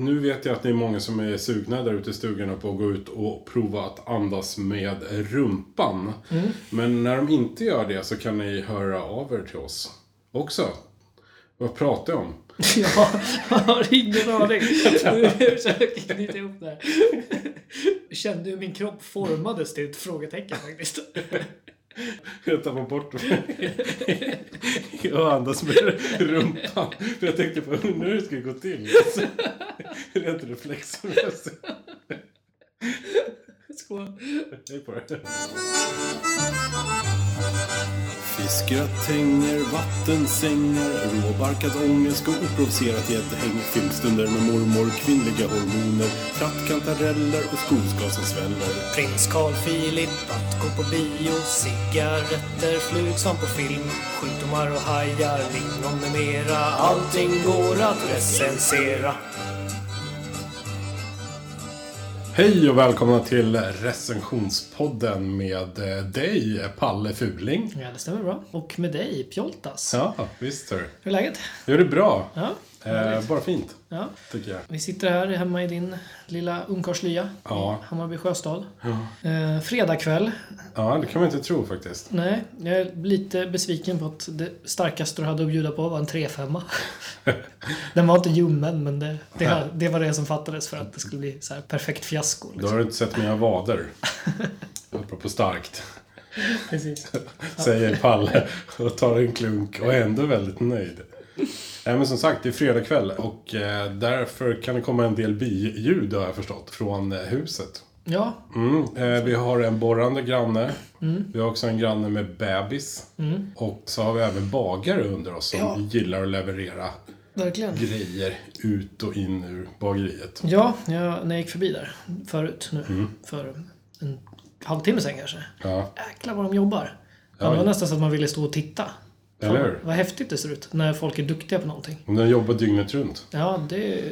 Nu vet jag att det är många som är sugna där ute i stugorna på att gå ut och prova att andas med rumpan. Men när de inte gör det så kan ni höra av er till oss också. Vad pratar jag om? Jag har ingen aning. Jag försöker knyta ihop det här. Jag kände hur min kropp formades till ett frågetecken faktiskt. Jag tappade bort Jag andas med rumpan. För jag tänkte på, undrar hur det skulle gå till. Alltså, Rent reflexmässigt. Skål. Hej på det. Fiskgratänger, vattensängar, råbarkad ångest och oprovocerat gäddhäng. Filmstunder med mormor, kvinnliga hormoner, trattkantareller och skogsgas som sväller. Prins Carl Philip att gå på bio Cigaretter, flug som på film Sjukdomar och hajar, lingon med mera Allting går att recensera Hej och välkomna till recensionspodden med eh, dig, Palle Fuling. Ja, det stämmer bra. Och med dig, Pjoltas. Ja, visst hör Hur är läget? Gör det bra. Ja. Eh, bara fint, ja. tycker jag. Vi sitter här hemma i din lilla ungkarlslya Ja. i Hammarby sjöstad. Eh, fredag kväll. Ja, det kan man inte tro faktiskt. Nej, jag är lite besviken på att det starkaste du hade att bjuda på var en 3-5. Den var inte ljummen, men det, det, det var det som fattades för att det skulle bli så här perfekt fiasko. Då Liksom. har du inte sett mina vader. Apropå starkt. Precis. Säger Palle och tar en klunk och är ändå väldigt nöjd. Nej men som sagt, det är fredag kväll och eh, därför kan det komma en del biljud har jag förstått från eh, huset. Ja, Mm, eh, vi har en borrande granne. Mm. Vi har också en granne med bebis. Och så har vi även bagare under oss som Ja. gillar att leverera verkligen. grejer ut och in ur bageriet. Ja, jag, när jag gick förbi där förut nu, Mm. för en halvtimme sen kanske. Ja, Jäklar vad de jobbar. Ja, Man var ja. nästan så att man ville stå och titta. Fan, eller hur? Vad häftigt det ser ut när folk är duktiga på någonting. Om den jobbar dygnet runt. Ja, det,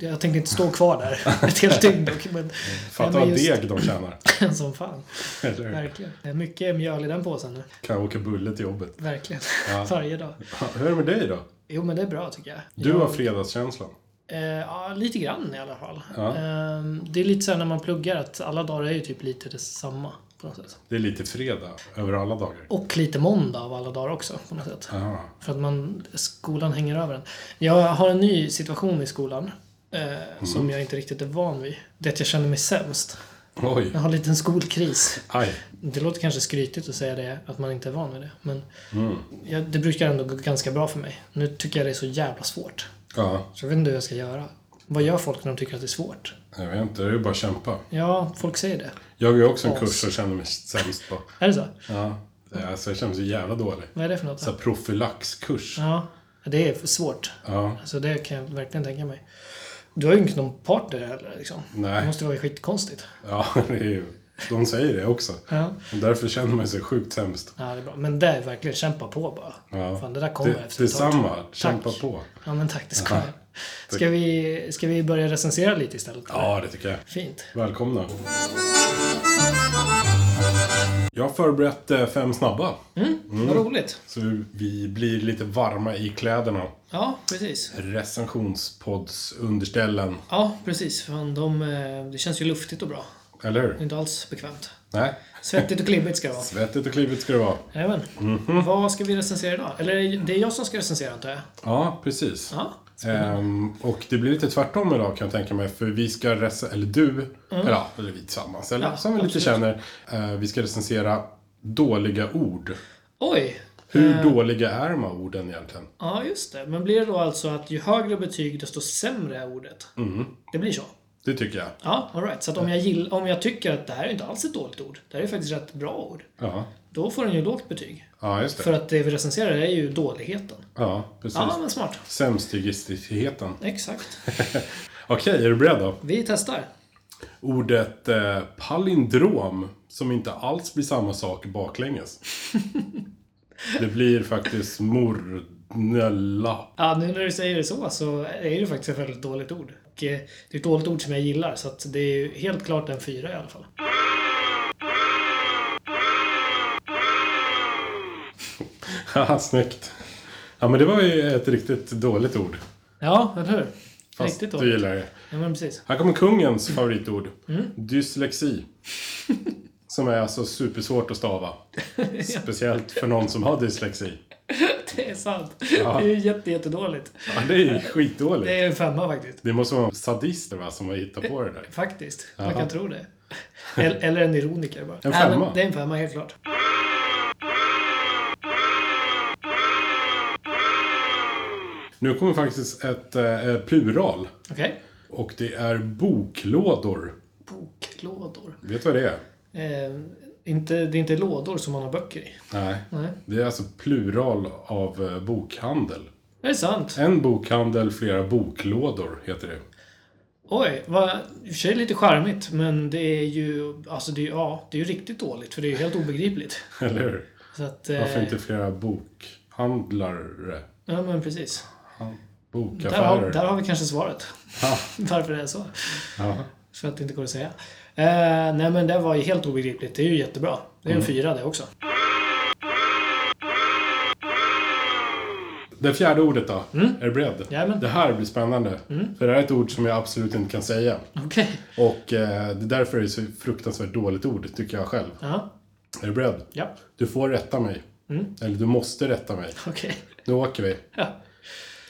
jag tänkte inte stå kvar där ett helt dygn dock. Men, Fatta men vad just- deg de tjänar. som fan. Eller hur? Verkligen. Det är mycket mjöl i den påsen nu. Kan åka bulle till jobbet. Verkligen. Ja. Varje dag. Hur är det med dig då? Jo, men det är bra tycker jag. Du jag, har fredagskänslan. eh, Ja, lite grann i alla fall. Ja. Eh, det är lite så här när man pluggar att alla dagar är ju typ lite detsamma. På något sätt. Det är lite fredag över alla dagar. Och lite måndag av alla dagar också på något sätt. Aha. För att man, skolan hänger över en. Jag har en ny situation i skolan. Eh, Mm. Som jag inte riktigt är van vid. Det är att jag känner mig sämst. Oj, Jag har en liten skolkris. aj. Det låter kanske skrytigt att säga det, att man inte är van vid det. Men Mm. jag, det brukar ändå gå ganska bra för mig. Nu tycker jag det är så jävla svårt. Ja, Så jag vet inte hur jag ska göra. Vad gör folk när de tycker att det är svårt? jag vet inte. Det är ju bara att kämpa. Ja, folk säger det. Jag går ju också en As. kurs och känner mig sämst på. Är det så? Ja, alltså jag känner mig så jävla dålig. Vad är det för något? Så här profylaxkurs. Ja, det är svårt. Ja, Alltså det kan jag verkligen tänka mig. Du har ju inte någon partner heller liksom. Det nej. måste vara skitkonstigt. Ja, det är ju... De säger det också. Ja. Och därför känner man sig sjukt sämst. ja, det är bra. Men det är verkligen kämpa på bara. Ja. Fan, det där kommer Det, efter ett tag. detsamma. Kämpa på. Ja, men tack. Det ska jag. Tack. Ska vi, ska vi börja recensera lite istället? Ja, det tycker jag. Fint. Välkomna. Jag har förberett eh, fem snabba. Vad roligt. Så vi blir lite varma i kläderna. Ja, precis. Recensionspoddsunderställen. Ja, precis. Fan, de, eh, det känns ju luftigt och bra. Eller Det är hur? inte alls bekvämt. Nej. Svettigt och klibbigt ska det vara. Svettigt och klibbigt ska det vara. Jajamän. Vad ska vi recensera idag? Eller det är jag som ska recensera antar jag? Ja, precis. Ja. Ehm, och det blir lite tvärtom idag kan jag tänka mig. För vi ska rec- eller du, eller, ja, eller vi tillsammans, eller Mm. Ja, som vi lite känner. eh, vi ska recensera dåliga ord. Oj! Eh. Hur dåliga är de här orden egentligen? Ja, just det. Men blir det då alltså att ju högre betyg desto sämre är ordet? Det blir så? Det tycker jag. Ja, alright. Så att om jag, gill, om jag tycker att det här är inte alls ett dåligt ord, det här är faktiskt ett rätt bra ord, Ja, då får den ju lågt betyg. ja just det. För att det vi recenserar är ju dåligheten. Ja, precis. Ja, men smart. Sämstigistigheten. Exakt. Okej, är du beredd då? Vi testar. Ordet eh, palindrom, som inte alls blir samma sak baklänges. det blir faktiskt mornella. Ja, nu när du säger det så så är det faktiskt ett väldigt dåligt ord. Och eh, det är ett dåligt ord som jag gillar, så att det är ju helt klart en fyra i alla fall. Haha, snyggt. Ja, men det var ju ett riktigt dåligt ord. Ja, eller hur? Fast Riktigt du dåligt. Mm. gillar det. Ja, men precis. Här kommer kungens favoritord. Dyslexi. Som är alltså supersvårt att stava. Speciellt för någon som har dyslexi. Det är sant. Ja. Det är jätte, jättedåligt. Ja, det är ju skitdåligt. Det är en femma faktiskt. Det måste vara sadister va, som har hittat på det där. Faktiskt. Man Jaha. kan tro det. Eller, eller en ironiker bara. En Nej, femma. men det är en femma helt klart. Nu kommer faktiskt ett eh, plural. Okej. Och det är boklådor. Boklådor. Vet du vad det är? Eh, inte, det är inte lådor som man har böcker i. Nej. Nej. Det är alltså plural av eh, bokhandel. Det är sant. En bokhandel, flera boklådor heter det. Oj, vad, i och för sig lite charmigt, men det är ju, alltså det är, ja, det är ju riktigt dåligt, för det är ju helt obegripligt. Eller hur? Så att, eh, Varför inte flera bokhandlare? Ja, men precis. Han- Där har, Bokaffärer. där har vi kanske svaret. Ja. Varför det är så. Ja. För att det inte går att säga. Eh, nej, men det var ju helt obegripligt. Det är ju jättebra. Det är Mm. en fyra det också. Det fjärde ordet då. Är du beredd? Mm. Jajamän. Mm. Det här blir spännande. För det här är ett ord som jag absolut inte kan säga. Okej. Och eh, det är därför det är så fruktansvärt dåligt ord, tycker jag själv. Ja. Är du beredd? Ja. Du får rätta mig. Mm. Eller du måste rätta mig. Okej. Nu åker vi. Ja.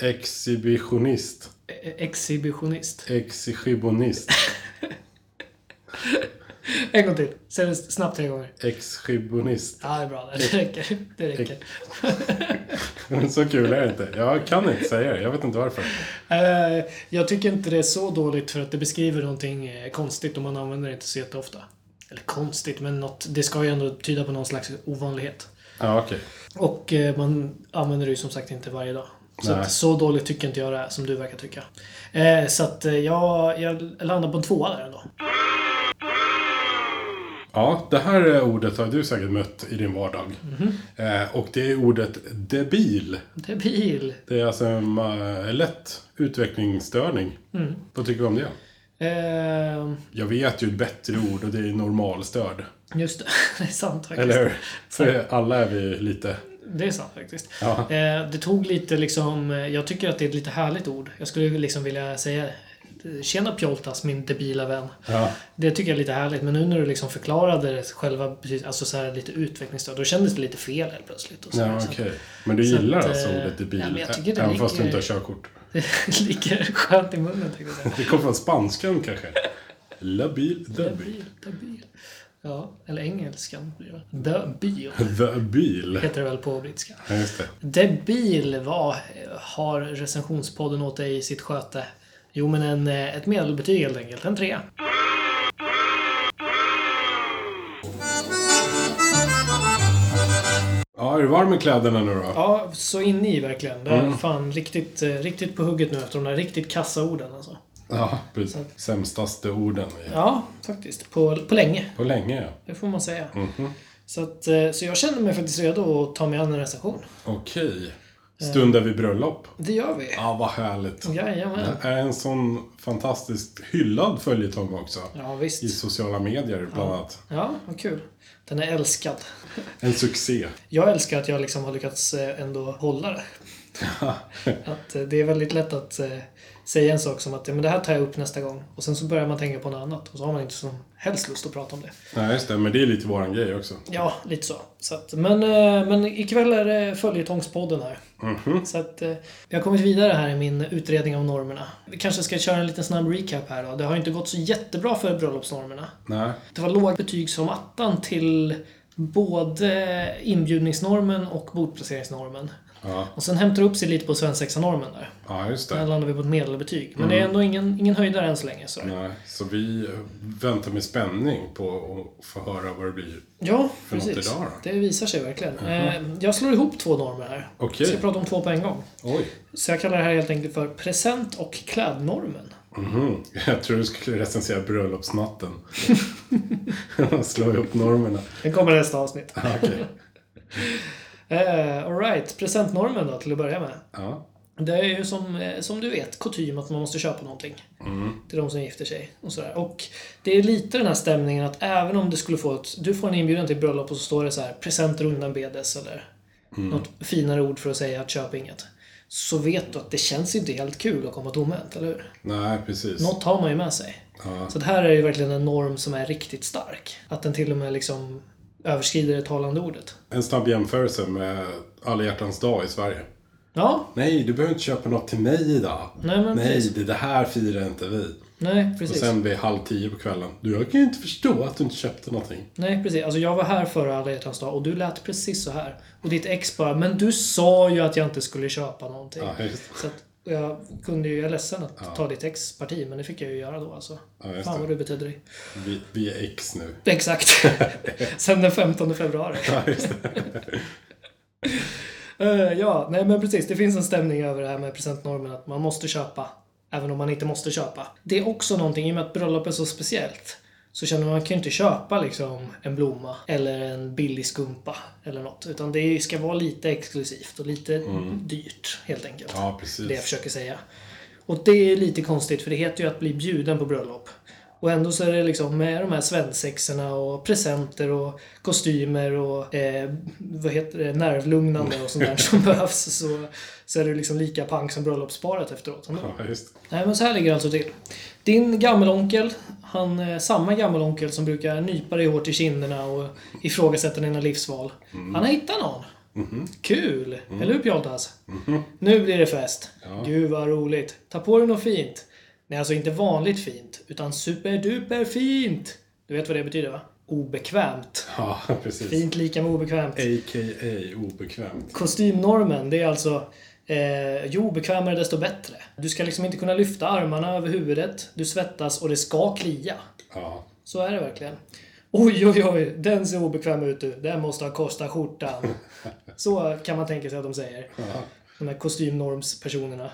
Exhibitionist. E- Exhibitionist. Exhibitionist. En gång till. Säg det snabbt tre gånger. Exhibitionist. Ja, det är bra. Det räcker. Det räcker. Så kul är det inte. Jag kan inte säga det. Jag vet inte varför. Eh, jag tycker inte det är så dåligt för att det beskriver någonting eh, konstigt och man använder det inte så jätteofta. Eller konstigt, men något, det ska ju ändå tyda på någon slags ovanlighet. Ja, okej. Och eh, man använder det ju som sagt inte varje dag. Så, Nej. att, så dåligt tycker inte jag det är, som du verkar tycka. Eh, så att eh, jag, jag landar på en tvåa där ändå. Ja, det här eh, ordet har du säkert mött i din vardag. Eh, och det är ordet debil. Debil! Det är alltså en eh, lätt utvecklingsstörning. Vad tycker du om det? Eh, Jag vet ju ett bättre ord och det är normalstörd. just det, det är sant faktiskt. Eller hur? För alla är vi lite... Det är sant faktiskt. Ja. Eh, det tog lite liksom, eh, jag tycker att det är ett lite härligt ord. Jag skulle ju liksom vilja säga eh, Tjena Pjoltas, min debila vän. Ja, Det tycker jag är lite härligt, men nu när du liksom förklarade det själva, precis, alltså så här lite utvecklingsstörd, då kändes det lite fel helt plötsligt. Och så ja Så okej. att Men du så gillar att, alltså eh, ordet debil? ja, men jag tycker det även fast du ligger- inte har körkort? Det ligger skönt i munnen tänkte jag säga. Det kommer från spanskan kanske? Labil, debil. Debil, debil. Ja, eller engelskan blir det. Debil The bil. heter det väl på brittiska. Ja, just det. Debil, vad har recensionspodden åt dig i sitt sköte? Jo, men en, eh, ett medelbetyg helt enkelt. En trea. Ja, är du varm i kläderna nu då? Ja, så inne i verkligen. Det är fan riktigt, eh, riktigt på hugget nu efter de där riktigt kassa orden alltså. Ja, precis. Sämstaste orden i... Ja, faktiskt. På, på länge. På länge, ja. Det får man säga. Så, att, eh, så jag känner mig faktiskt redo att ta mig an en recension. Okej. Eh. Stundar vi bröllop? Det gör vi. Ja, vad härligt. Jajamän. Det är en sån fantastiskt hyllad följetong också. Ja, visst. I sociala medier, bland annat. Ja, vad kul. Den är älskad. En succé. Jag älskar att jag liksom har lyckats eh, ändå hålla det. att eh, det är väldigt lätt att eh, säga en sak som att ja, men det här tar jag upp nästa gång. Och sen så börjar man tänka på något annat och så har man inte som helst lust att prata om det. Nej, just det. Men det är lite våran grej också. Ja, lite så. så att, men, eh, men ikväll är det följetongspodden här. Mhm. Så att, eh, jag har kommit vidare här i min utredning av normerna. Vi kanske ska köra en liten snabb recap här då. Det har ju inte gått så jättebra för bröllopsnormerna. Nej. Det var låga betyg som attan till både inbjudningsnormen och bordplaceringsnormen. Ja, Och sen hämtar det upp sig lite på svensexanormen där. ja Mm. just Där det. landar vi på ett medelbetyg. Men det är ändå ingen, ingen höjdare än så länge. Så. Nej, så vi väntar med spänning på att få höra vad det blir. Ja, För något precis. idag då? Mhm. Det visar sig verkligen. Eh, Jag slår ihop två normer här. Okej. Jag ska prata om två på en gång. Oj. Så jag kallar det här helt enkelt för present och klädnormen. Mhm. Jag tror du skulle recensera bröllopsnatten. Slå ihop normerna. Den kommer i nästa avsnitt. Ja, Okej. Eh, Alright, presentnormen då till att börja med. Ja. Det är ju som, eh, som du vet kutym att man måste köpa någonting till de som gifter sig. Och, sådär. och det är lite den här stämningen att även om du skulle få ett, du får en inbjudan till ett bröllop och så står det så här presenter undanbedes eller något finare ord för att säga att köp inget. så vet du att det känns inte helt kul att komma tomhänt, eller hur? Nej, precis. Något har man ju med sig. Ja. Så det här är ju verkligen en norm som är riktigt stark. Att den till och med liksom överskrider det talande ordet. En snabb jämförelse med Alla hjärtans dag i Sverige. Ja, Nej, du behöver inte köpa något till mig idag. Nej, men Nej, precis. det, det här firar inte vi. nej Och precis. sen vid halv tio på kvällen. Du, jag kan ju inte förstå att du inte köpte någonting. Nej precis. Alltså jag var här före alla hjärtans dag och du lät precis så här. Och ditt ex bara “Men du sa ju att jag inte skulle köpa någonting”. Ja, just, Så att jag kunde ju, jag är ledsen att ta ditt ex parti, men det fick jag ju göra då alltså. Ja, just Fan det. vad du betydde dig. vi, vi är ex nu. Exakt. Sen den 15 februari. Ja, just det. Eh, ja, nej men precis. Det finns en stämning över det här med presentnormen att man måste köpa. Även om man inte måste köpa. Det är också någonting, i och med att bröllop är så speciellt, så känner man man kan ju inte köpa liksom en blomma eller en billig skumpa eller något. Utan det ska vara lite exklusivt och lite dyrt helt enkelt. Mm. Ja, Det jag precis. försöker säga. Och det är lite konstigt för det heter ju att bli bjuden på bröllop. Och ändå så är det liksom med de här svensexorna och presenter och kostymer och eh, vad heter det, nervlugnande och sånt där som behövs så, så är det liksom lika pang som bröllopsparet efteråt. ändå. Ja, just. Nej men så här ligger det alltså till. Din gammelonkel, han, eh, samma gammelonkel som brukar nypa dig hårt i kinderna och ifrågasätta dina livsval. Mm. Han har hittat någon. Mm-hmm. Kul! Eller hur Pjoltas? Mhm. Nu blir det fest. Gud vad roligt. Ta på dig något fint. Nej, alltså inte vanligt fint, utan superduper fint. Du vet vad det betyder va? Obekvämt. Ja, precis. Fint lika med obekvämt. A.k.a. obekvämt. Kostymnormen, det är alltså eh, ju obekvämare desto bättre. Du ska liksom inte kunna lyfta armarna över huvudet, du svettas och det ska klia. Ja. Så är det verkligen. Oj, oj, oj, den ser obekväm ut du. Den måste ha kostat skjortan. Så kan man tänka sig att de säger. De här kostymnormspersonerna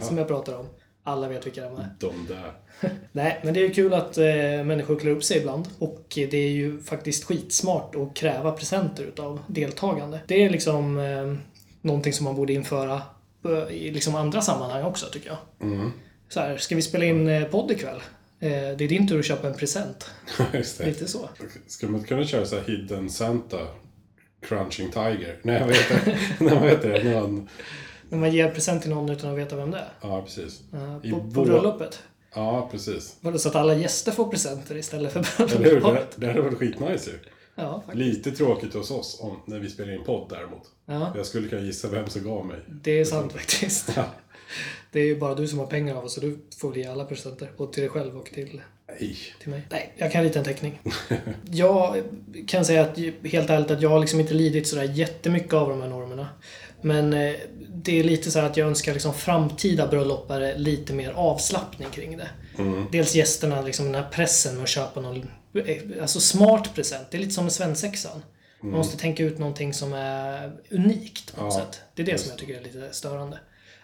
som jag pratar om. Alla vet vilka de är. De där. Nej, men det är ju kul att eh, människor klär upp sig ibland. Och det är ju faktiskt skitsmart att kräva presenter utav deltagande. Det är liksom eh, någonting som man borde införa eh, i liksom andra sammanhang också, tycker jag. Mm. Så här, ska vi spela in eh, podd ikväll? Eh, det är din tur att köpa en present. Just det. Lite så. Ska man inte kunna köra så här Hidden Santa? Crunching Tiger? Nej, vad heter det? Nej, vad heter det? Någon... När man ger present till någon utan att veta vem det är. Ja, precis. Eh, I på, på vår- bröllopet. Ja, precis. Var det så att alla gäster får presenter istället för Eller hur? bröllopet? Det, det hade varit skitnice ju. Ja, faktiskt. Lite tråkigt hos oss om, när vi spelar in podd däremot. Ja. Jag skulle kunna gissa vem som gav mig. Det är sant faktiskt. Ja. Det är ju bara du som har pengar av oss så du får väl ge alla presenter. Både till dig själv och till, Nej. till mig. Nej, jag kan lite en teckning. jag kan säga att helt ärligt att jag har liksom inte lidit sådär jättemycket av de här normerna. Men eh, det är lite så här att jag önskar liksom framtida bröllopare lite mer avslappning kring det. Dels gästerna, liksom den här pressen med att köpa någon eh, alltså smart present. Det är lite som med svensexan. Man måste tänka ut någonting som är unikt på något Ja, sätt. Det är det som jag tycker är lite störande.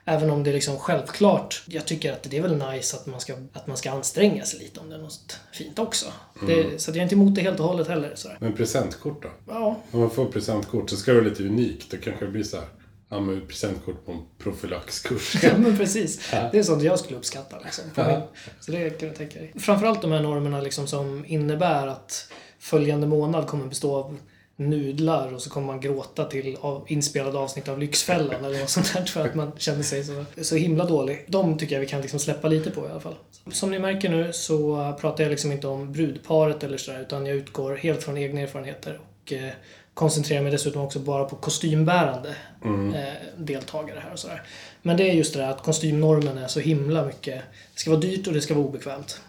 Även om det är liksom självklart, jag tycker att det är väl nice att man ska, att man ska anstränga sig lite om det är något fint också. Det, så att jag är inte emot det helt och hållet heller. Sådär. Men presentkort då? Ja, Om man får presentkort så ska det vara lite unikt. Då kanske det blir så här. Ja, men presentkort på en profylaxkurs. Ja, men precis. Det är sånt jag skulle uppskatta. Liksom, på min. Så det kan jag tänka dig. Framförallt de här normerna liksom som innebär att följande månad kommer bestå av nudlar och så kommer man gråta till av, inspelade avsnitt av Lyxfällan eller något sånt där för att man känner sig så, så himla dålig. De tycker jag vi kan liksom släppa lite på i alla fall. Som ni märker nu så pratar jag liksom inte om brudparet eller sådär utan jag utgår helt från egna erfarenheter och eh, koncentrerar mig dessutom också bara på kostymbärande eh, deltagare här och sådär. Men det är just det där att kostymnormen är så himla mycket. Det ska vara dyrt och det ska vara obekvämt.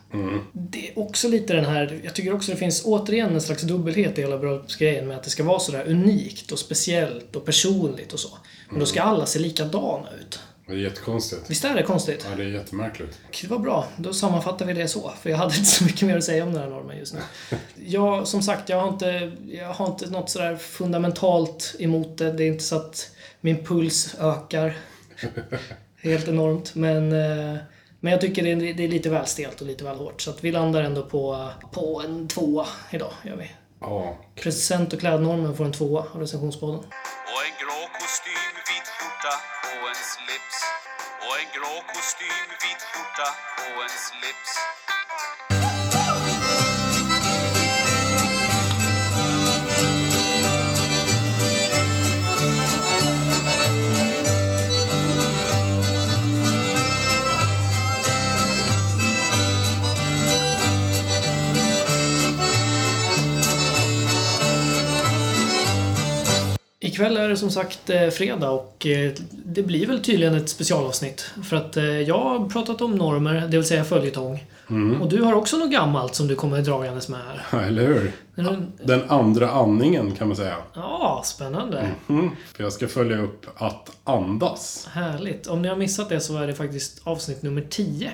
Det är också lite den här, jag tycker också det finns återigen en slags dubbelhet i hela bröllopsgrejen med att det ska vara sådär unikt och speciellt och personligt och så. Men då ska alla se likadana ut. Det är jättekonstigt. Visst är det konstigt? Ja, det är jättemärkligt. Det var bra, då sammanfattar vi det så. För jag hade inte så mycket mer att säga om den här normen just nu. Jag, som sagt, jag har inte, jag har inte något sådär fundamentalt emot det. Det är inte så att min puls ökar helt enormt. Men, eh, men jag tycker det är, det är lite väl stelt och lite väl hårt. Så att vi landar ändå på, på en tvåa idag. Gör vi. Ja, Present och klädnormen får en tvåa av recensionspodden. Och en grå kostym, vit skjorta och en slips. Och en grå kostym, vit skjorta och en slips. Ikväll är det som sagt eh, fredag och eh, det blir väl tydligen ett specialavsnitt. För att eh, jag har pratat om normer, det vill säga följetong. Och du har också något gammalt som du kommer dragandes med här. Ja, eller hur? Men nu- Den andra andningen kan man säga. Ja, spännande. Mm. För jag ska följa upp att andas. Härligt. Om ni har missat det så är det faktiskt avsnitt nummer 10.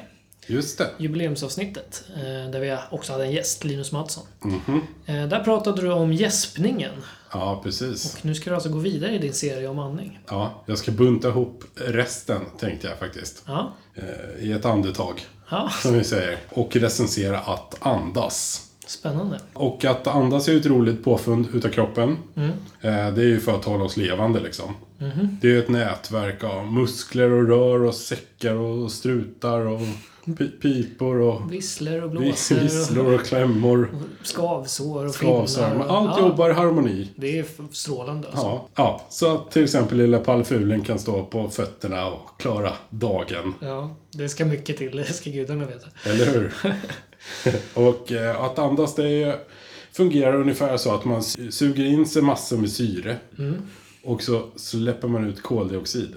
Just det. Jubileumsavsnittet. eh, Där vi också hade en gäst, Linus Mattsson. Eh, Där pratade du om gäspningen. Ja, precis. Nu ska du alltså gå vidare i din serie om andning. Ja, jag ska bunta ihop resten, tänkte jag faktiskt. Ja. Eh, I ett andetag, ja. som vi säger. Och recensera att andas. Spännande. Och att andas är ju ett roligt påfund utav kroppen. Eh, Det är ju för att hålla oss levande liksom. Det är ju ett nätverk av muskler och rör och säckar och strutar och pi- pipor och Vissler och blåser och visslor och klämmor. skavsår och Skavsar. finnar Men och- allt jobbar i harmoni. Det är f- strålande alltså. Ja. ja, så att till exempel lilla pallfulen kan stå på fötterna och klara dagen. Ja, det ska mycket till. Det ska gudarna veta. Eller hur? och eh, att andas det är, fungerar ungefär så att man su- suger in sig massor med syre. Och så släpper man ut koldioxid.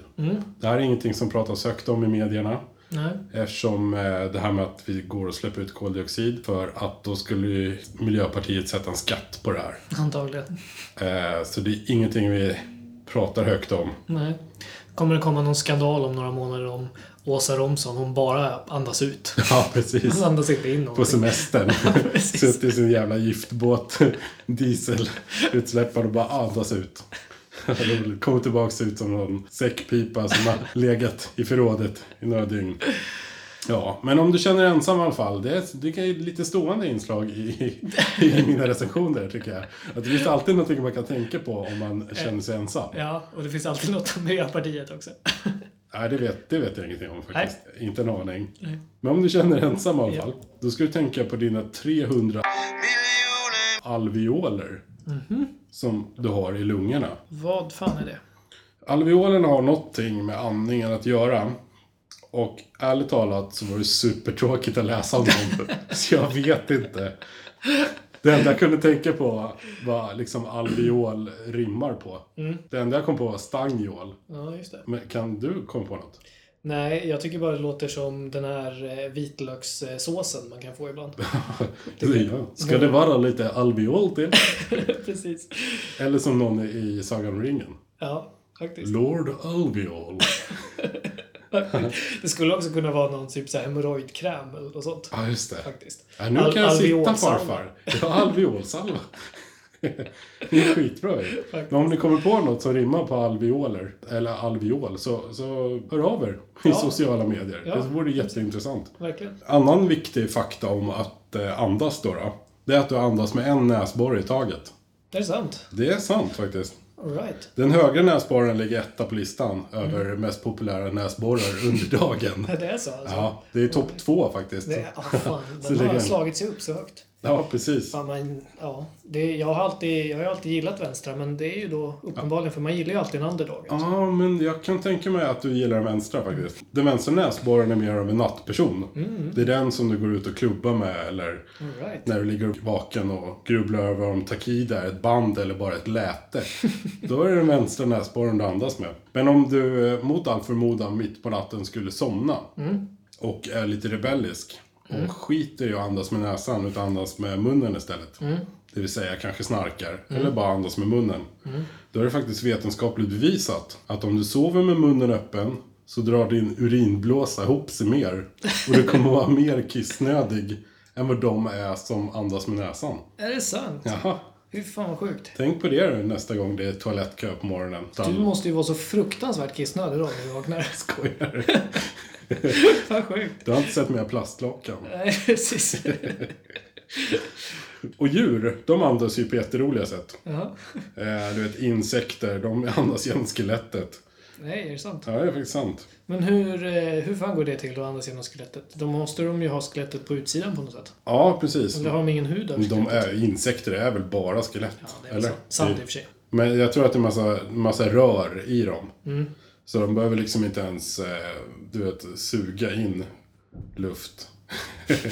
Det här är ingenting som pratas högt om i medierna. Nej. Eftersom eh, det här med att vi går och släpper ut koldioxid. För att då skulle ju Miljöpartiet sätta en skatt på det här. Antagligen. Eh, Så det är ingenting vi pratar högt om. Nej. Kommer det komma någon skandal om några månader om Åsa Romson? Hon bara andas ut. Ja, precis. Hon andas inte in någonting. På semestern. precis. Suttit i sin jävla giftbåt. Dieselutsläpparen och bara andas ut. Roligt. Kommer tillbaka ut som någon säckpipa som har legat i förrådet i några dygn. Ja, men om du känner dig ensam i alla fall. Det är, det är ett lite stående inslag i, i mina recensioner tycker jag. Att det finns alltid någonting man kan tänka på om Eh, man känner sig ensam. Ja, och det finns alltid något om Miljöpartiet också. Nej, det vet, det vet jag ingenting om faktiskt. Inte en aning. Men om du känner dig ensam i alla fall, då ska du tänka på dina 300 Miljoner alveoler som du har i lungorna. Vad fan är det? Alveolerna har någonting med andningen att göra. Och ärligt talat så var det supertråkigt att läsa om dem. så jag vet inte. Det enda jag kunde tänka på var liksom alveol rimmar på. Det enda jag kom på var stangiol. Ja, just det. Men kan du komma på något? Nej, jag tycker bara det låter som den här eh, vitlökssåsen man kan få ibland. Ja. Ska det vara lite alveol till? Precis. Eller som någon i Sagan om ringen. Ja, faktiskt. Lord Alveol. Det skulle också kunna vara någon typ så här hemorrojdkräm eller något sånt. Ja, just det. Faktiskt. Ja, nu Al- kan jag sitta alveolsalva. farfar. Ja, alveolsalva. Det är skitbra ju. Faktiskt. Men om ni kommer på något som rimmar på alveoler, eller alveol, så, så hör av er i Ja. sociala medier. Ja. Det vore jätteintressant. Verkligen. Annan viktig fakta om att eh, andas då, då, det är att du andas med en näsborre i taget. Det är sant. Det är sant faktiskt. All right. Den högra näsborren ligger etta på listan över mest populära näsborrar under dagen. Ja, Det är så alltså. Ja, det är topp två faktiskt. Det är, ah, fan, Så den det har kan- slagit sig upp så högt. Ja, precis. Ja, men, ja. Det, jag, har alltid, jag har alltid gillat vänstra, men det är ju då uppenbarligen, för man gillar ju alltid en underdog. Alltså. Ja, men jag kan tänka mig att du gillar den vänstra faktiskt. Den vänstra näsborren är mer av en nattperson. Mm. Det är den som du går ut och klubbar med eller All right. när du ligger vaken och grubblar över om takid är ett band eller bara ett läte. Då är det den vänstra näsborren du andas med. Men om du eh, mot all förmodan mitt på natten skulle somna Mm. och är lite rebellisk och skiter i att andas med näsan utan andas med munnen istället. Det vill säga kanske snarkar eller bara andas med munnen. Då är det faktiskt vetenskapligt bevisat att om du sover med munnen öppen så drar din urinblåsa ihop sig mer och du kommer vara mer kissnödig än vad de är som andas med näsan. Är det sant? Jaha, Fy fan vad sjukt. tänk på det då nästa gång det är toalettkö på morgonen. Du måste ju vara så fruktansvärt kissnödig då när du vaknar. Skojar. Fan sjukt. Du har inte sett mer plastlakan. Nej, precis. Och djur, de andas ju på jätteroliga sätt. Ja. Eh, du vet, insekter, de andas genom skelettet. Nej, är det sant? Ja, det är faktiskt sant. Men hur, eh, hur fan går det till att andas genom skelettet? Då måste de ju ha skelettet på utsidan på något sätt. Ja, precis. Eller har de ingen hud över De skelettet? är, insekter är väl bara skelett? Ja, det är väl sant. sant i och för sig. Men jag tror att det är massa, massa rör i dem. Mm. Så de behöver liksom inte ens, eh, du vet, suga in luft. Det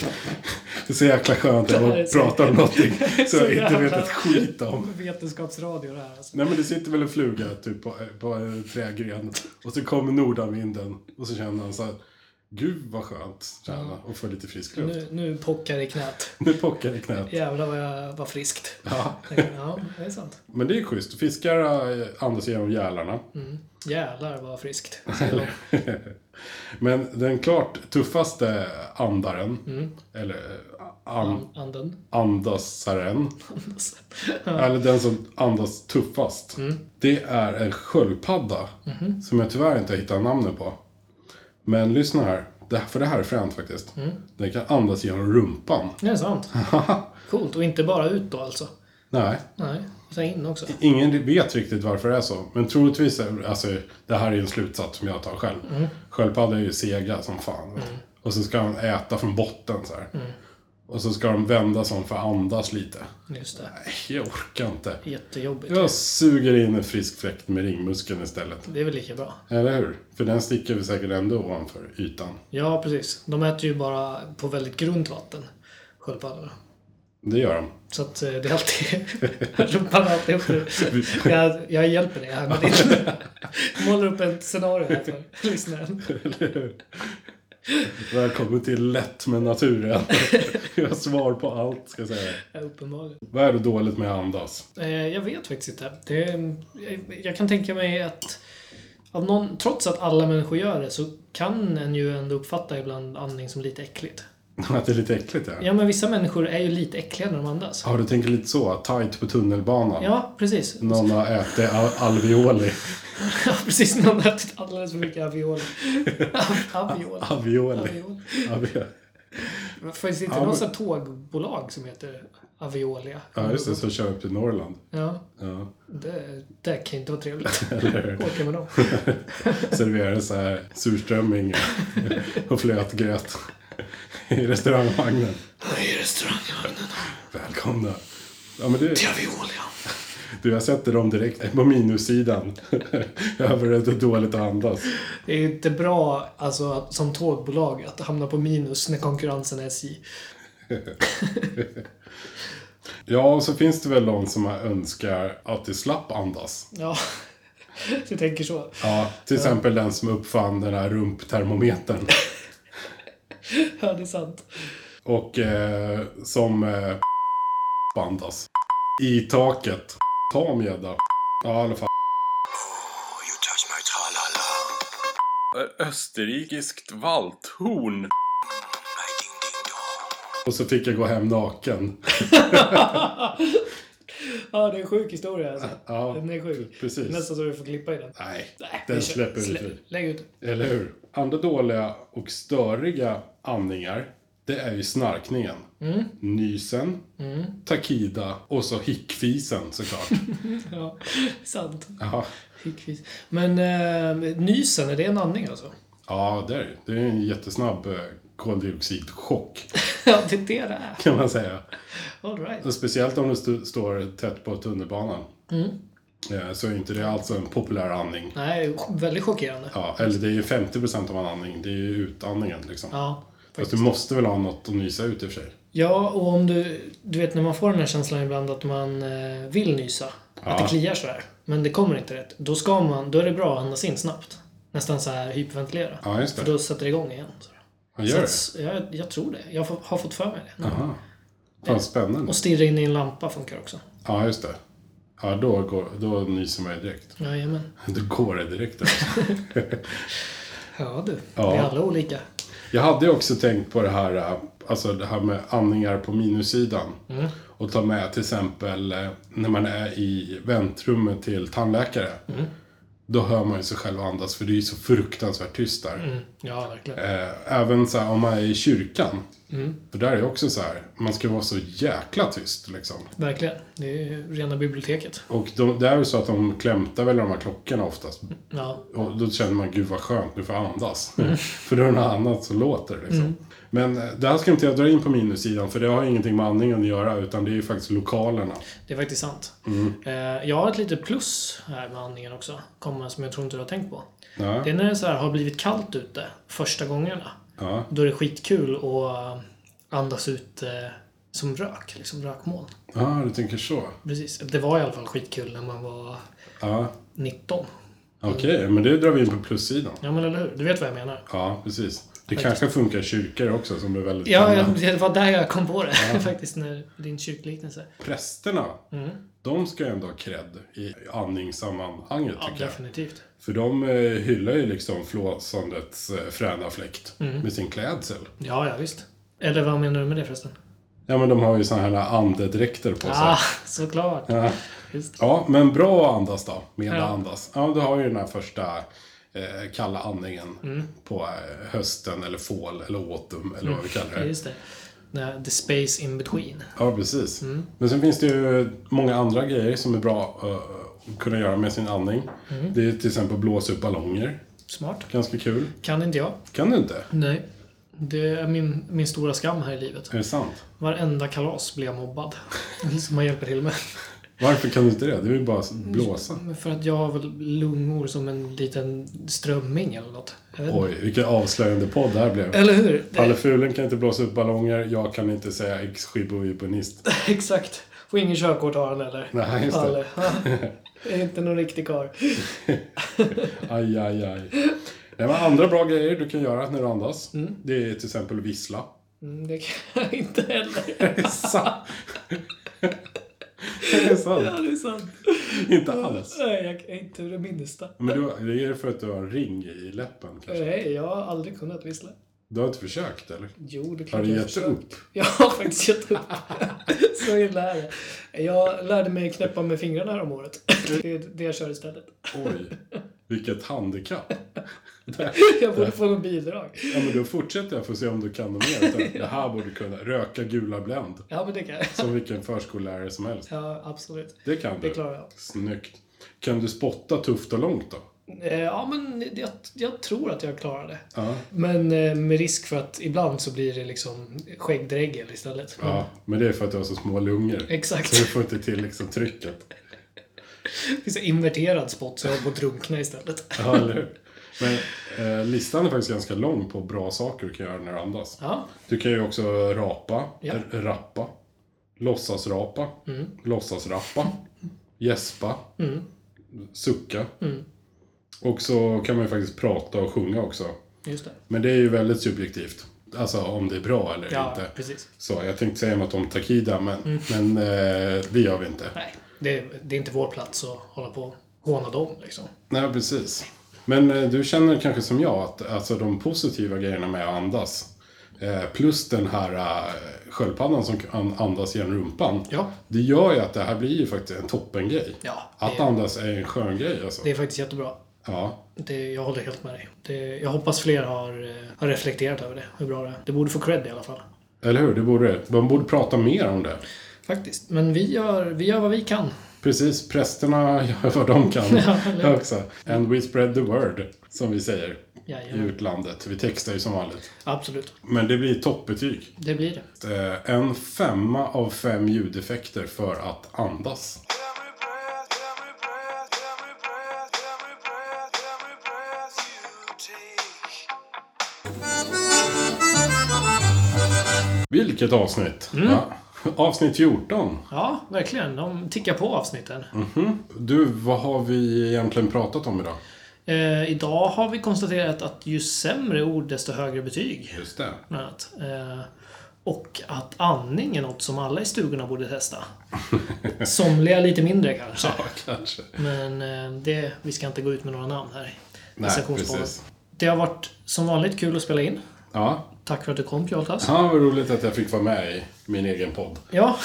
är så jäkla skönt att Det här bara är så- prata om någonting som så jag inte vet jävla- ett skit om. Vetenskapsradio det här alltså. Nej men det sitter väl en fluga typ på, på en trädgren och så kommer nordanvinden och så känner han så här, Gud vad skönt, känner han, och få lite frisk luft. Nu, nu pockar det i knät. Nu pockar det i knät. Jävlar vad jag var friskt. Ja. Ja, det är sant. Men det är ju schysst. Fiskar eh, andas genom gälarna. Jävlar vad friskt. Men den klart tuffaste andaren, eller eh, an, Anden. andasaren, Alltså. eller den som andas tuffast, det är en sköldpadda. Som jag tyvärr inte har hittat namnet på. Men lyssna här, det, för det här är fränt faktiskt. Den kan andas genom rumpan. Det är sant. Coolt. Och inte bara ut då alltså. Nej, Nej, och sen in också. Ingen vet riktigt varför det är så, men troligtvis, är, alltså, det här är en slutsats som jag tar själv. Sköldpaddor är ju sega som fan. vet du. Och så ska de äta från botten så här. Och så ska de vända sig om för att andas lite. Just det. Nej, jag orkar inte. Jättejobbigt. Jag suger in en frisk fläkt med ringmuskeln istället. Det är väl lika bra. Eller hur? För den sticker vi säkert ändå ovanför ytan. Ja, precis. De äter ju bara på väldigt grunt vatten, sköldpaddorna. Det gör de. Så att eh, det är alltid... Rumpan är alltid uppe. Jag, jag hjälper dig här med din... Målar upp ett scenario här för lyssnaren. Eller hur? Välkommen till Lätt med naturen. Jag har svar på allt, ska jag säga. Ja, Uppenbarligen. Vad är det dåligt med att andas? Eh, Jag vet faktiskt inte. Det, jag- jag kan tänka mig att av någon, trots att alla människor gör det så kan en ju ändå uppfatta ibland andning som lite äckligt. Att det är lite äckligt ja. Ja, men vissa människor är ju lite äckliga när de andas. Ja, du tänker lite så. Tight på tunnelbanan. Ja, precis. Någon har ätit al- alvioli. Ja, precis. Någon har ätit alldeles för mycket aviol. Aviol. Alvioli. Aviol. Alvioli. Finns det inte Ja, men- något sånt tågbolag som heter Aviolia? Ja, just det. Så kör jag upp till Norrland. Ja, Ja. det, det kan inte vara trevligt. Eller hur? Åka med dem. Serverar så här surströmming och flötgröt i restaurangvagnen. I restaurangvagnen. Välkomna. Ja, men du, Aviolia. du, jag sätter dem direkt på minussidan. Över att det är dåligt att andas. Det är ju inte bra alltså, att, som tågbolag att hamna på minus när konkurrensen är SJ. Ja, och så finns det väl de som önskar att de slapp andas. Ja, du tänker så. Ja, till exempel den som uppfann den här rumptermometern. Ja, det är sant. Och eh, som eh, bandas. I taket. Ta om gädda. Ja, i alla fall. Österrikiskt valthorn. Och så fick jag gå hem naken. Ja, det är en sjuk historia alltså. Ja, Den är sjuk. precis. Nästan så vi får klippa i den. Nej, alltså- Nej, den vi kör. släpper vi Slä- fri. Lägg ut. Eller hur? Andra dåliga och störiga andningar, det är ju snarkningen. Mm. Nysen, takida och så hickfisen såklart. Ja, sant. Jaha. Fickvis. Men eh, nysen, är det en andning alltså? Ja, det är det. Det är en jättesnabb eh, koldioxidchock Ja, det är det det är. kan man säga. All right. Och Speciellt om du st- står tätt på tunnelbanan. Mm. Eh, Så är inte det alls en populär andning. Nej, väldigt chockerande. Ja, eller det är ju 50% av en andning, det är ju utandningen liksom. Ja. Fast du måste väl ha något att nysa ut i och för sig. Ja, och om du... Du vet när man får den här känslan ibland att man eh, vill nysa. Att det kliar sådär. Men det kommer inte rätt. Då ska man... Då är det bra att andas in snabbt. Nästan så här hyperventilera. Ja, just För det. då sätter det igång igen. Så. Ja, gör det. Så att- jag, jag tror det. Jag får- har fått för mig det. Aha. Fan, spännande. Och stirra in i en lampa funkar också. Ja, just det. Ja, då, går, då nyser man ju direkt. Jajamän. Då går det direkt. Alltså. Ja du. Ja. Vi är alla olika. Jag hade ju också tänkt på det här, eh, alltså det här med andningar på minussidan. Och ta med till exempel eh, när man är i väntrummet till tandläkare. Då hör man ju sig själv andas för det är ju så fruktansvärt tyst där. Ja, verkligen. Eh, Även så här, om man är i kyrkan. För där är det också så här, man ska vara så jäkla tyst liksom. Verkligen. Det är ju rena biblioteket. Och de, det är ju så att de klämtar väl de här klockorna oftast. Ja. Och då känner man, gud vad skönt, nu får jag andas. Mm. för då är det något annat som låter liksom. Men eh, det här ska inte jag dra in på minussidan, för det har ingenting med andningen att göra, utan det är ju faktiskt lokalerna. Det är faktiskt sant. Eh, Jag har ett litet plus här med andningen också, kommer som jag tror inte du har tänkt på. Ja, Det är när det så här har blivit kallt ute första gångerna. ja, Då är det skitkul att andas ut eh, som rök, liksom rökmoln. Ja, du tänker så. Precis. Det var i alla fall skitkul när man var Ja, 19. okej. Mm. Men det drar vi in på plussidan. Ja, men eller hur? Du vet vad jag menar. Ja, precis. Det kanske funkar i kyrkor också som är väldigt Ja, gamla. jag, det var där jag kom på det faktiskt, när din kyrkliknelse. Prästerna, Mm. de ska ju ändå ha cred i andningssammanhanget Ja, tycker jag. definitivt. För de eh, hyllar ju liksom flåsandets eh, fräna fläkt Mm. med sin klädsel. Ja, ja, visst. Eller vad menar du med det förresten? Ja, men de har ju såna här andedräkter på sig. Ah, såklart. Ja. Just. Ja, men bra att andas då. Med Ja. att andas. Ja, du har ju den här första eh, kalla andningen Mm. på eh, hösten eller fall eller autumn eller vad vi kallar Ja, det. just det. Nej, The space in between. Ja, precis. Mm. Men sen finns det ju många andra grejer som är bra eh, att kunna göra med sin andning. Mm. Det är till exempel blåsa upp ballonger. Smart. Ganska kul. Kan inte jag. Kan du inte? Nej. Det är min, min stora skam här i livet. Är det sant? Varenda kalas blir jag mobbad. Mm. Som man hjälper till med. Varför kan du inte det? Det är ju bara att blåsa. Men För att jag har väl lungor som en liten strömming eller något. Jag vet inte. Oj, vilken avslöjande podd det här blev. Eller hur? Det, Palle Fulen kan inte blåsa upp ballonger, jag kan inte säga ex-skibbo-ibonist. exakt. Och ingen körkort har han eller. Nej, just det. Palle. är inte någon riktig karl. Aj, aj, aj. Nej, men andra bra grejer du kan göra när du andas, det är till exempel vissla. Mm, det kan jag inte heller. Är det sant? Är det Ja, sant? det är sant. Inte alls. Nej, jag kan inte det minsta. Men du, det är för att du har en ring i läppen kanske. Nej, jag har aldrig kunnat vissla. Du har inte försökt eller? Jo, det är Har klart du jag gett försökt. upp? Jag har faktiskt gett upp. Så illa är det. Jag lärde mig knäppa med fingrarna här om året. Det är det jag kör istället. Oj, vilket handikapp. Jag borde få något bidrag. Ja, men då fortsätter jag för att se om du kan något mer. Det här borde du kunna. Röka gula Blend. Ja, men det kan jag. Som vilken förskollärare som helst. Ja, absolut. Det kan du. Det klarar jag. Snyggt. Kan du spotta tufft och långt då? Eh, Ja, men jag, jag tror att jag klarar det. Ja. Men eh, med risk för att ibland så blir det liksom skäggdregel istället. Men- Ja, men det är för att du har så små lungor. Exakt. Så du får inte till liksom trycket. Det finns en inverterad spot så jag håller på att drunkna istället. Ja, eller hur? Men eh, listan är faktiskt ganska lång på bra saker du kan göra när du andas. Ja, Du kan ju också rapa, Ja. r- rappa, låtsasrapa, låtsasrappa, gäspa, sucka. Och så kan man ju faktiskt prata och sjunga också. just det. Men det är ju väldigt subjektivt. Alltså om det är bra eller Ja, inte. precis. Så jag tänkte säga något om Takida, men, men eh, det gör vi inte. Mm. Nej, det, det är inte vår plats att hålla på och håna dem liksom. Nej, precis. Men eh, du känner kanske som jag att alltså, de positiva grejerna med att andas eh, plus den här eh, sköldpaddan som kan andas genom rumpan. Ja. Det gör ju att det här blir ju faktiskt en toppengrej. Ja, Att det- andas är en skön grej alltså. Det är faktiskt jättebra. Ja. Det, jag håller helt med dig. Det, jag hoppas fler har, eh, har reflekterat över det, hur bra det är. Det borde få cred i alla fall. Eller hur? Det borde, man borde prata mer om det. Faktiskt. Men vi gör, vi gör vad vi kan. Precis, prästerna gör vad de kan Ja, eller hur? också. And we spread the word, som vi säger i Jajamän. utlandet. Vi textar ju som vanligt. Absolut. Men det blir toppbetyg. Det blir det. Eh, En femma av fem ljudeffekter för att andas. Every breath, every breath, every breath, every breath, every breath you take. Vilket avsnitt! Ja. Avsnitt 14. Ja, verkligen. De tickar på avsnitten. Du, vad har vi egentligen pratat om idag? Eh, idag har vi konstaterat att ju sämre ord, desto högre betyg. Just det. Bland annat. Eh, och att andning är något som alla i stugorna borde testa. Somliga lite mindre kanske. Ja, kanske. Men eh, det, vi ska inte gå ut med några namn här. i Nej, sessionspodden. precis. Det har varit som vanligt kul att spela in. Ja. Tack för att du kom Pjoltas. ja, vad roligt att jag fick vara med i min egen podd. Ja,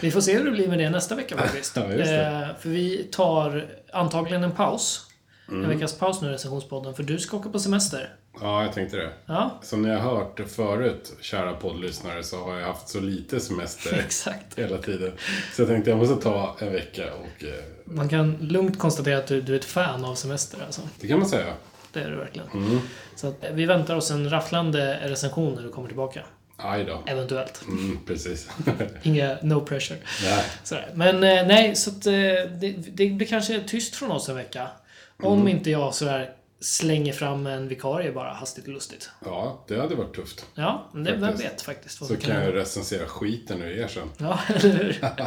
vi får se hur det blir med det nästa vecka faktiskt. Ja, just det. Eh, för vi tar antagligen en paus. Mm. En veckas paus nu i recensionspodden, för du ska åka på semester. Ja, jag tänkte det. Ja, Som ni har hört förut, kära poddlyssnare, så har jag haft så lite semester exakt. hela tiden. Så jag tänkte jag måste ta en vecka och... eh, Man kan lugnt konstatera att du, du är ett fan av semester alltså. Det kan man säga. Det är du verkligen. Mm. Så att, eh, vi väntar oss en rafflande recension när du kommer tillbaka. Aj då. Eventuellt. Mm, precis. Inga no pressure. Nej. Sådär. Men eh, Mm. nej, så att, eh, det, det blir kanske tyst från oss en vecka. Om inte jag sådär slänger fram en vikarie bara hastigt och lustigt. Ja, det hade varit tufft. Ja, men det, vem Faktiskt. vet faktiskt vad Så som kan hända. jag recensera skiten ur er sen. Ja, eller hur? Det är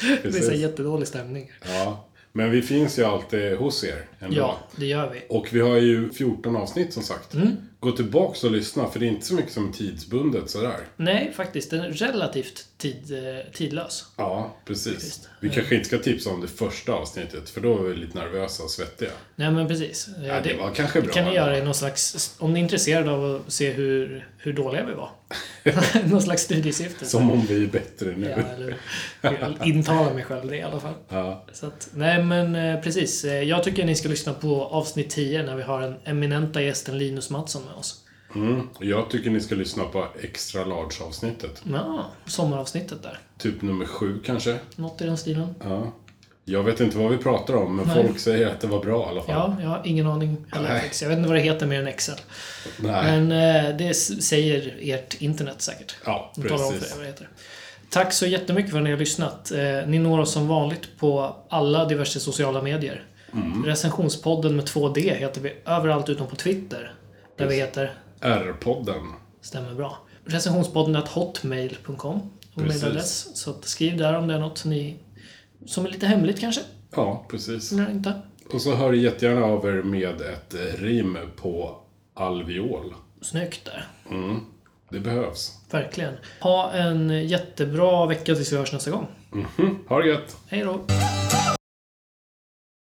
så här Precis. jättedålig stämning. Ja. Men vi finns ju alltid hos er ändå. Ja, Mm. det gör vi. Och vi har ju 14 avsnitt som sagt. Gå tillbaks och lyssna, för det är inte så mycket som tidsbundet sådär. Nej, faktiskt. Den är relativt tid, eh, tidlös. Ja, precis. Visst. Vi kanske inte ska tipsa om det första avsnittet, för då var vi lite nervösa och svettiga. Nej, men precis. Eh, Ja, det var kanske bra kan ni ändå. göra i någon slags... Om ni är intresserade av att se hur, hur dåliga vi var. någon slags studiesyfte. Som om vi är bättre nu. Ja, eller jag intalar mig själv det i alla fall. Ja. Så att, nej men eh, precis. Eh, Jag tycker ni ska lyssna på avsnitt 10 när vi har den eminenta gästen Linus Mattsson med oss. Mm. Jag tycker ni ska lyssna på extra large-avsnittet. Ja, sommaravsnittet där. Typ nummer sju kanske. Något i den stilen. Ja. Jag vet inte vad vi pratar om, men Nej. folk säger att det var bra i alla fall. Ja, jag har ingen aning. Eller Nej. faktiskt. Jag vet inte vad det heter mer än Excel. Nej. Men eh, det s- säger ert internet säkert. Ja, De talar om för er precis. vad det heter. Tack så jättemycket för att ni har lyssnat. Eh, Ni når oss som vanligt på alla diverse sociala medier. Mm. Recensionspodden med 2D heter vi överallt utom på Twitter. Där vi heter R-podden. Stämmer bra. Recensionspodden är hotmail.com. och Precis. mailadress. Så att skriv där om det är något ni, som är lite hemligt kanske. Ja, precis. Eller inte. Och så hör jättegärna av er med ett eh, rim på alveol. Snyggt där. Det behövs. Verkligen. Ha en jättebra vecka tills vi hörs nästa gång. Ha det gött! Hej då! Thank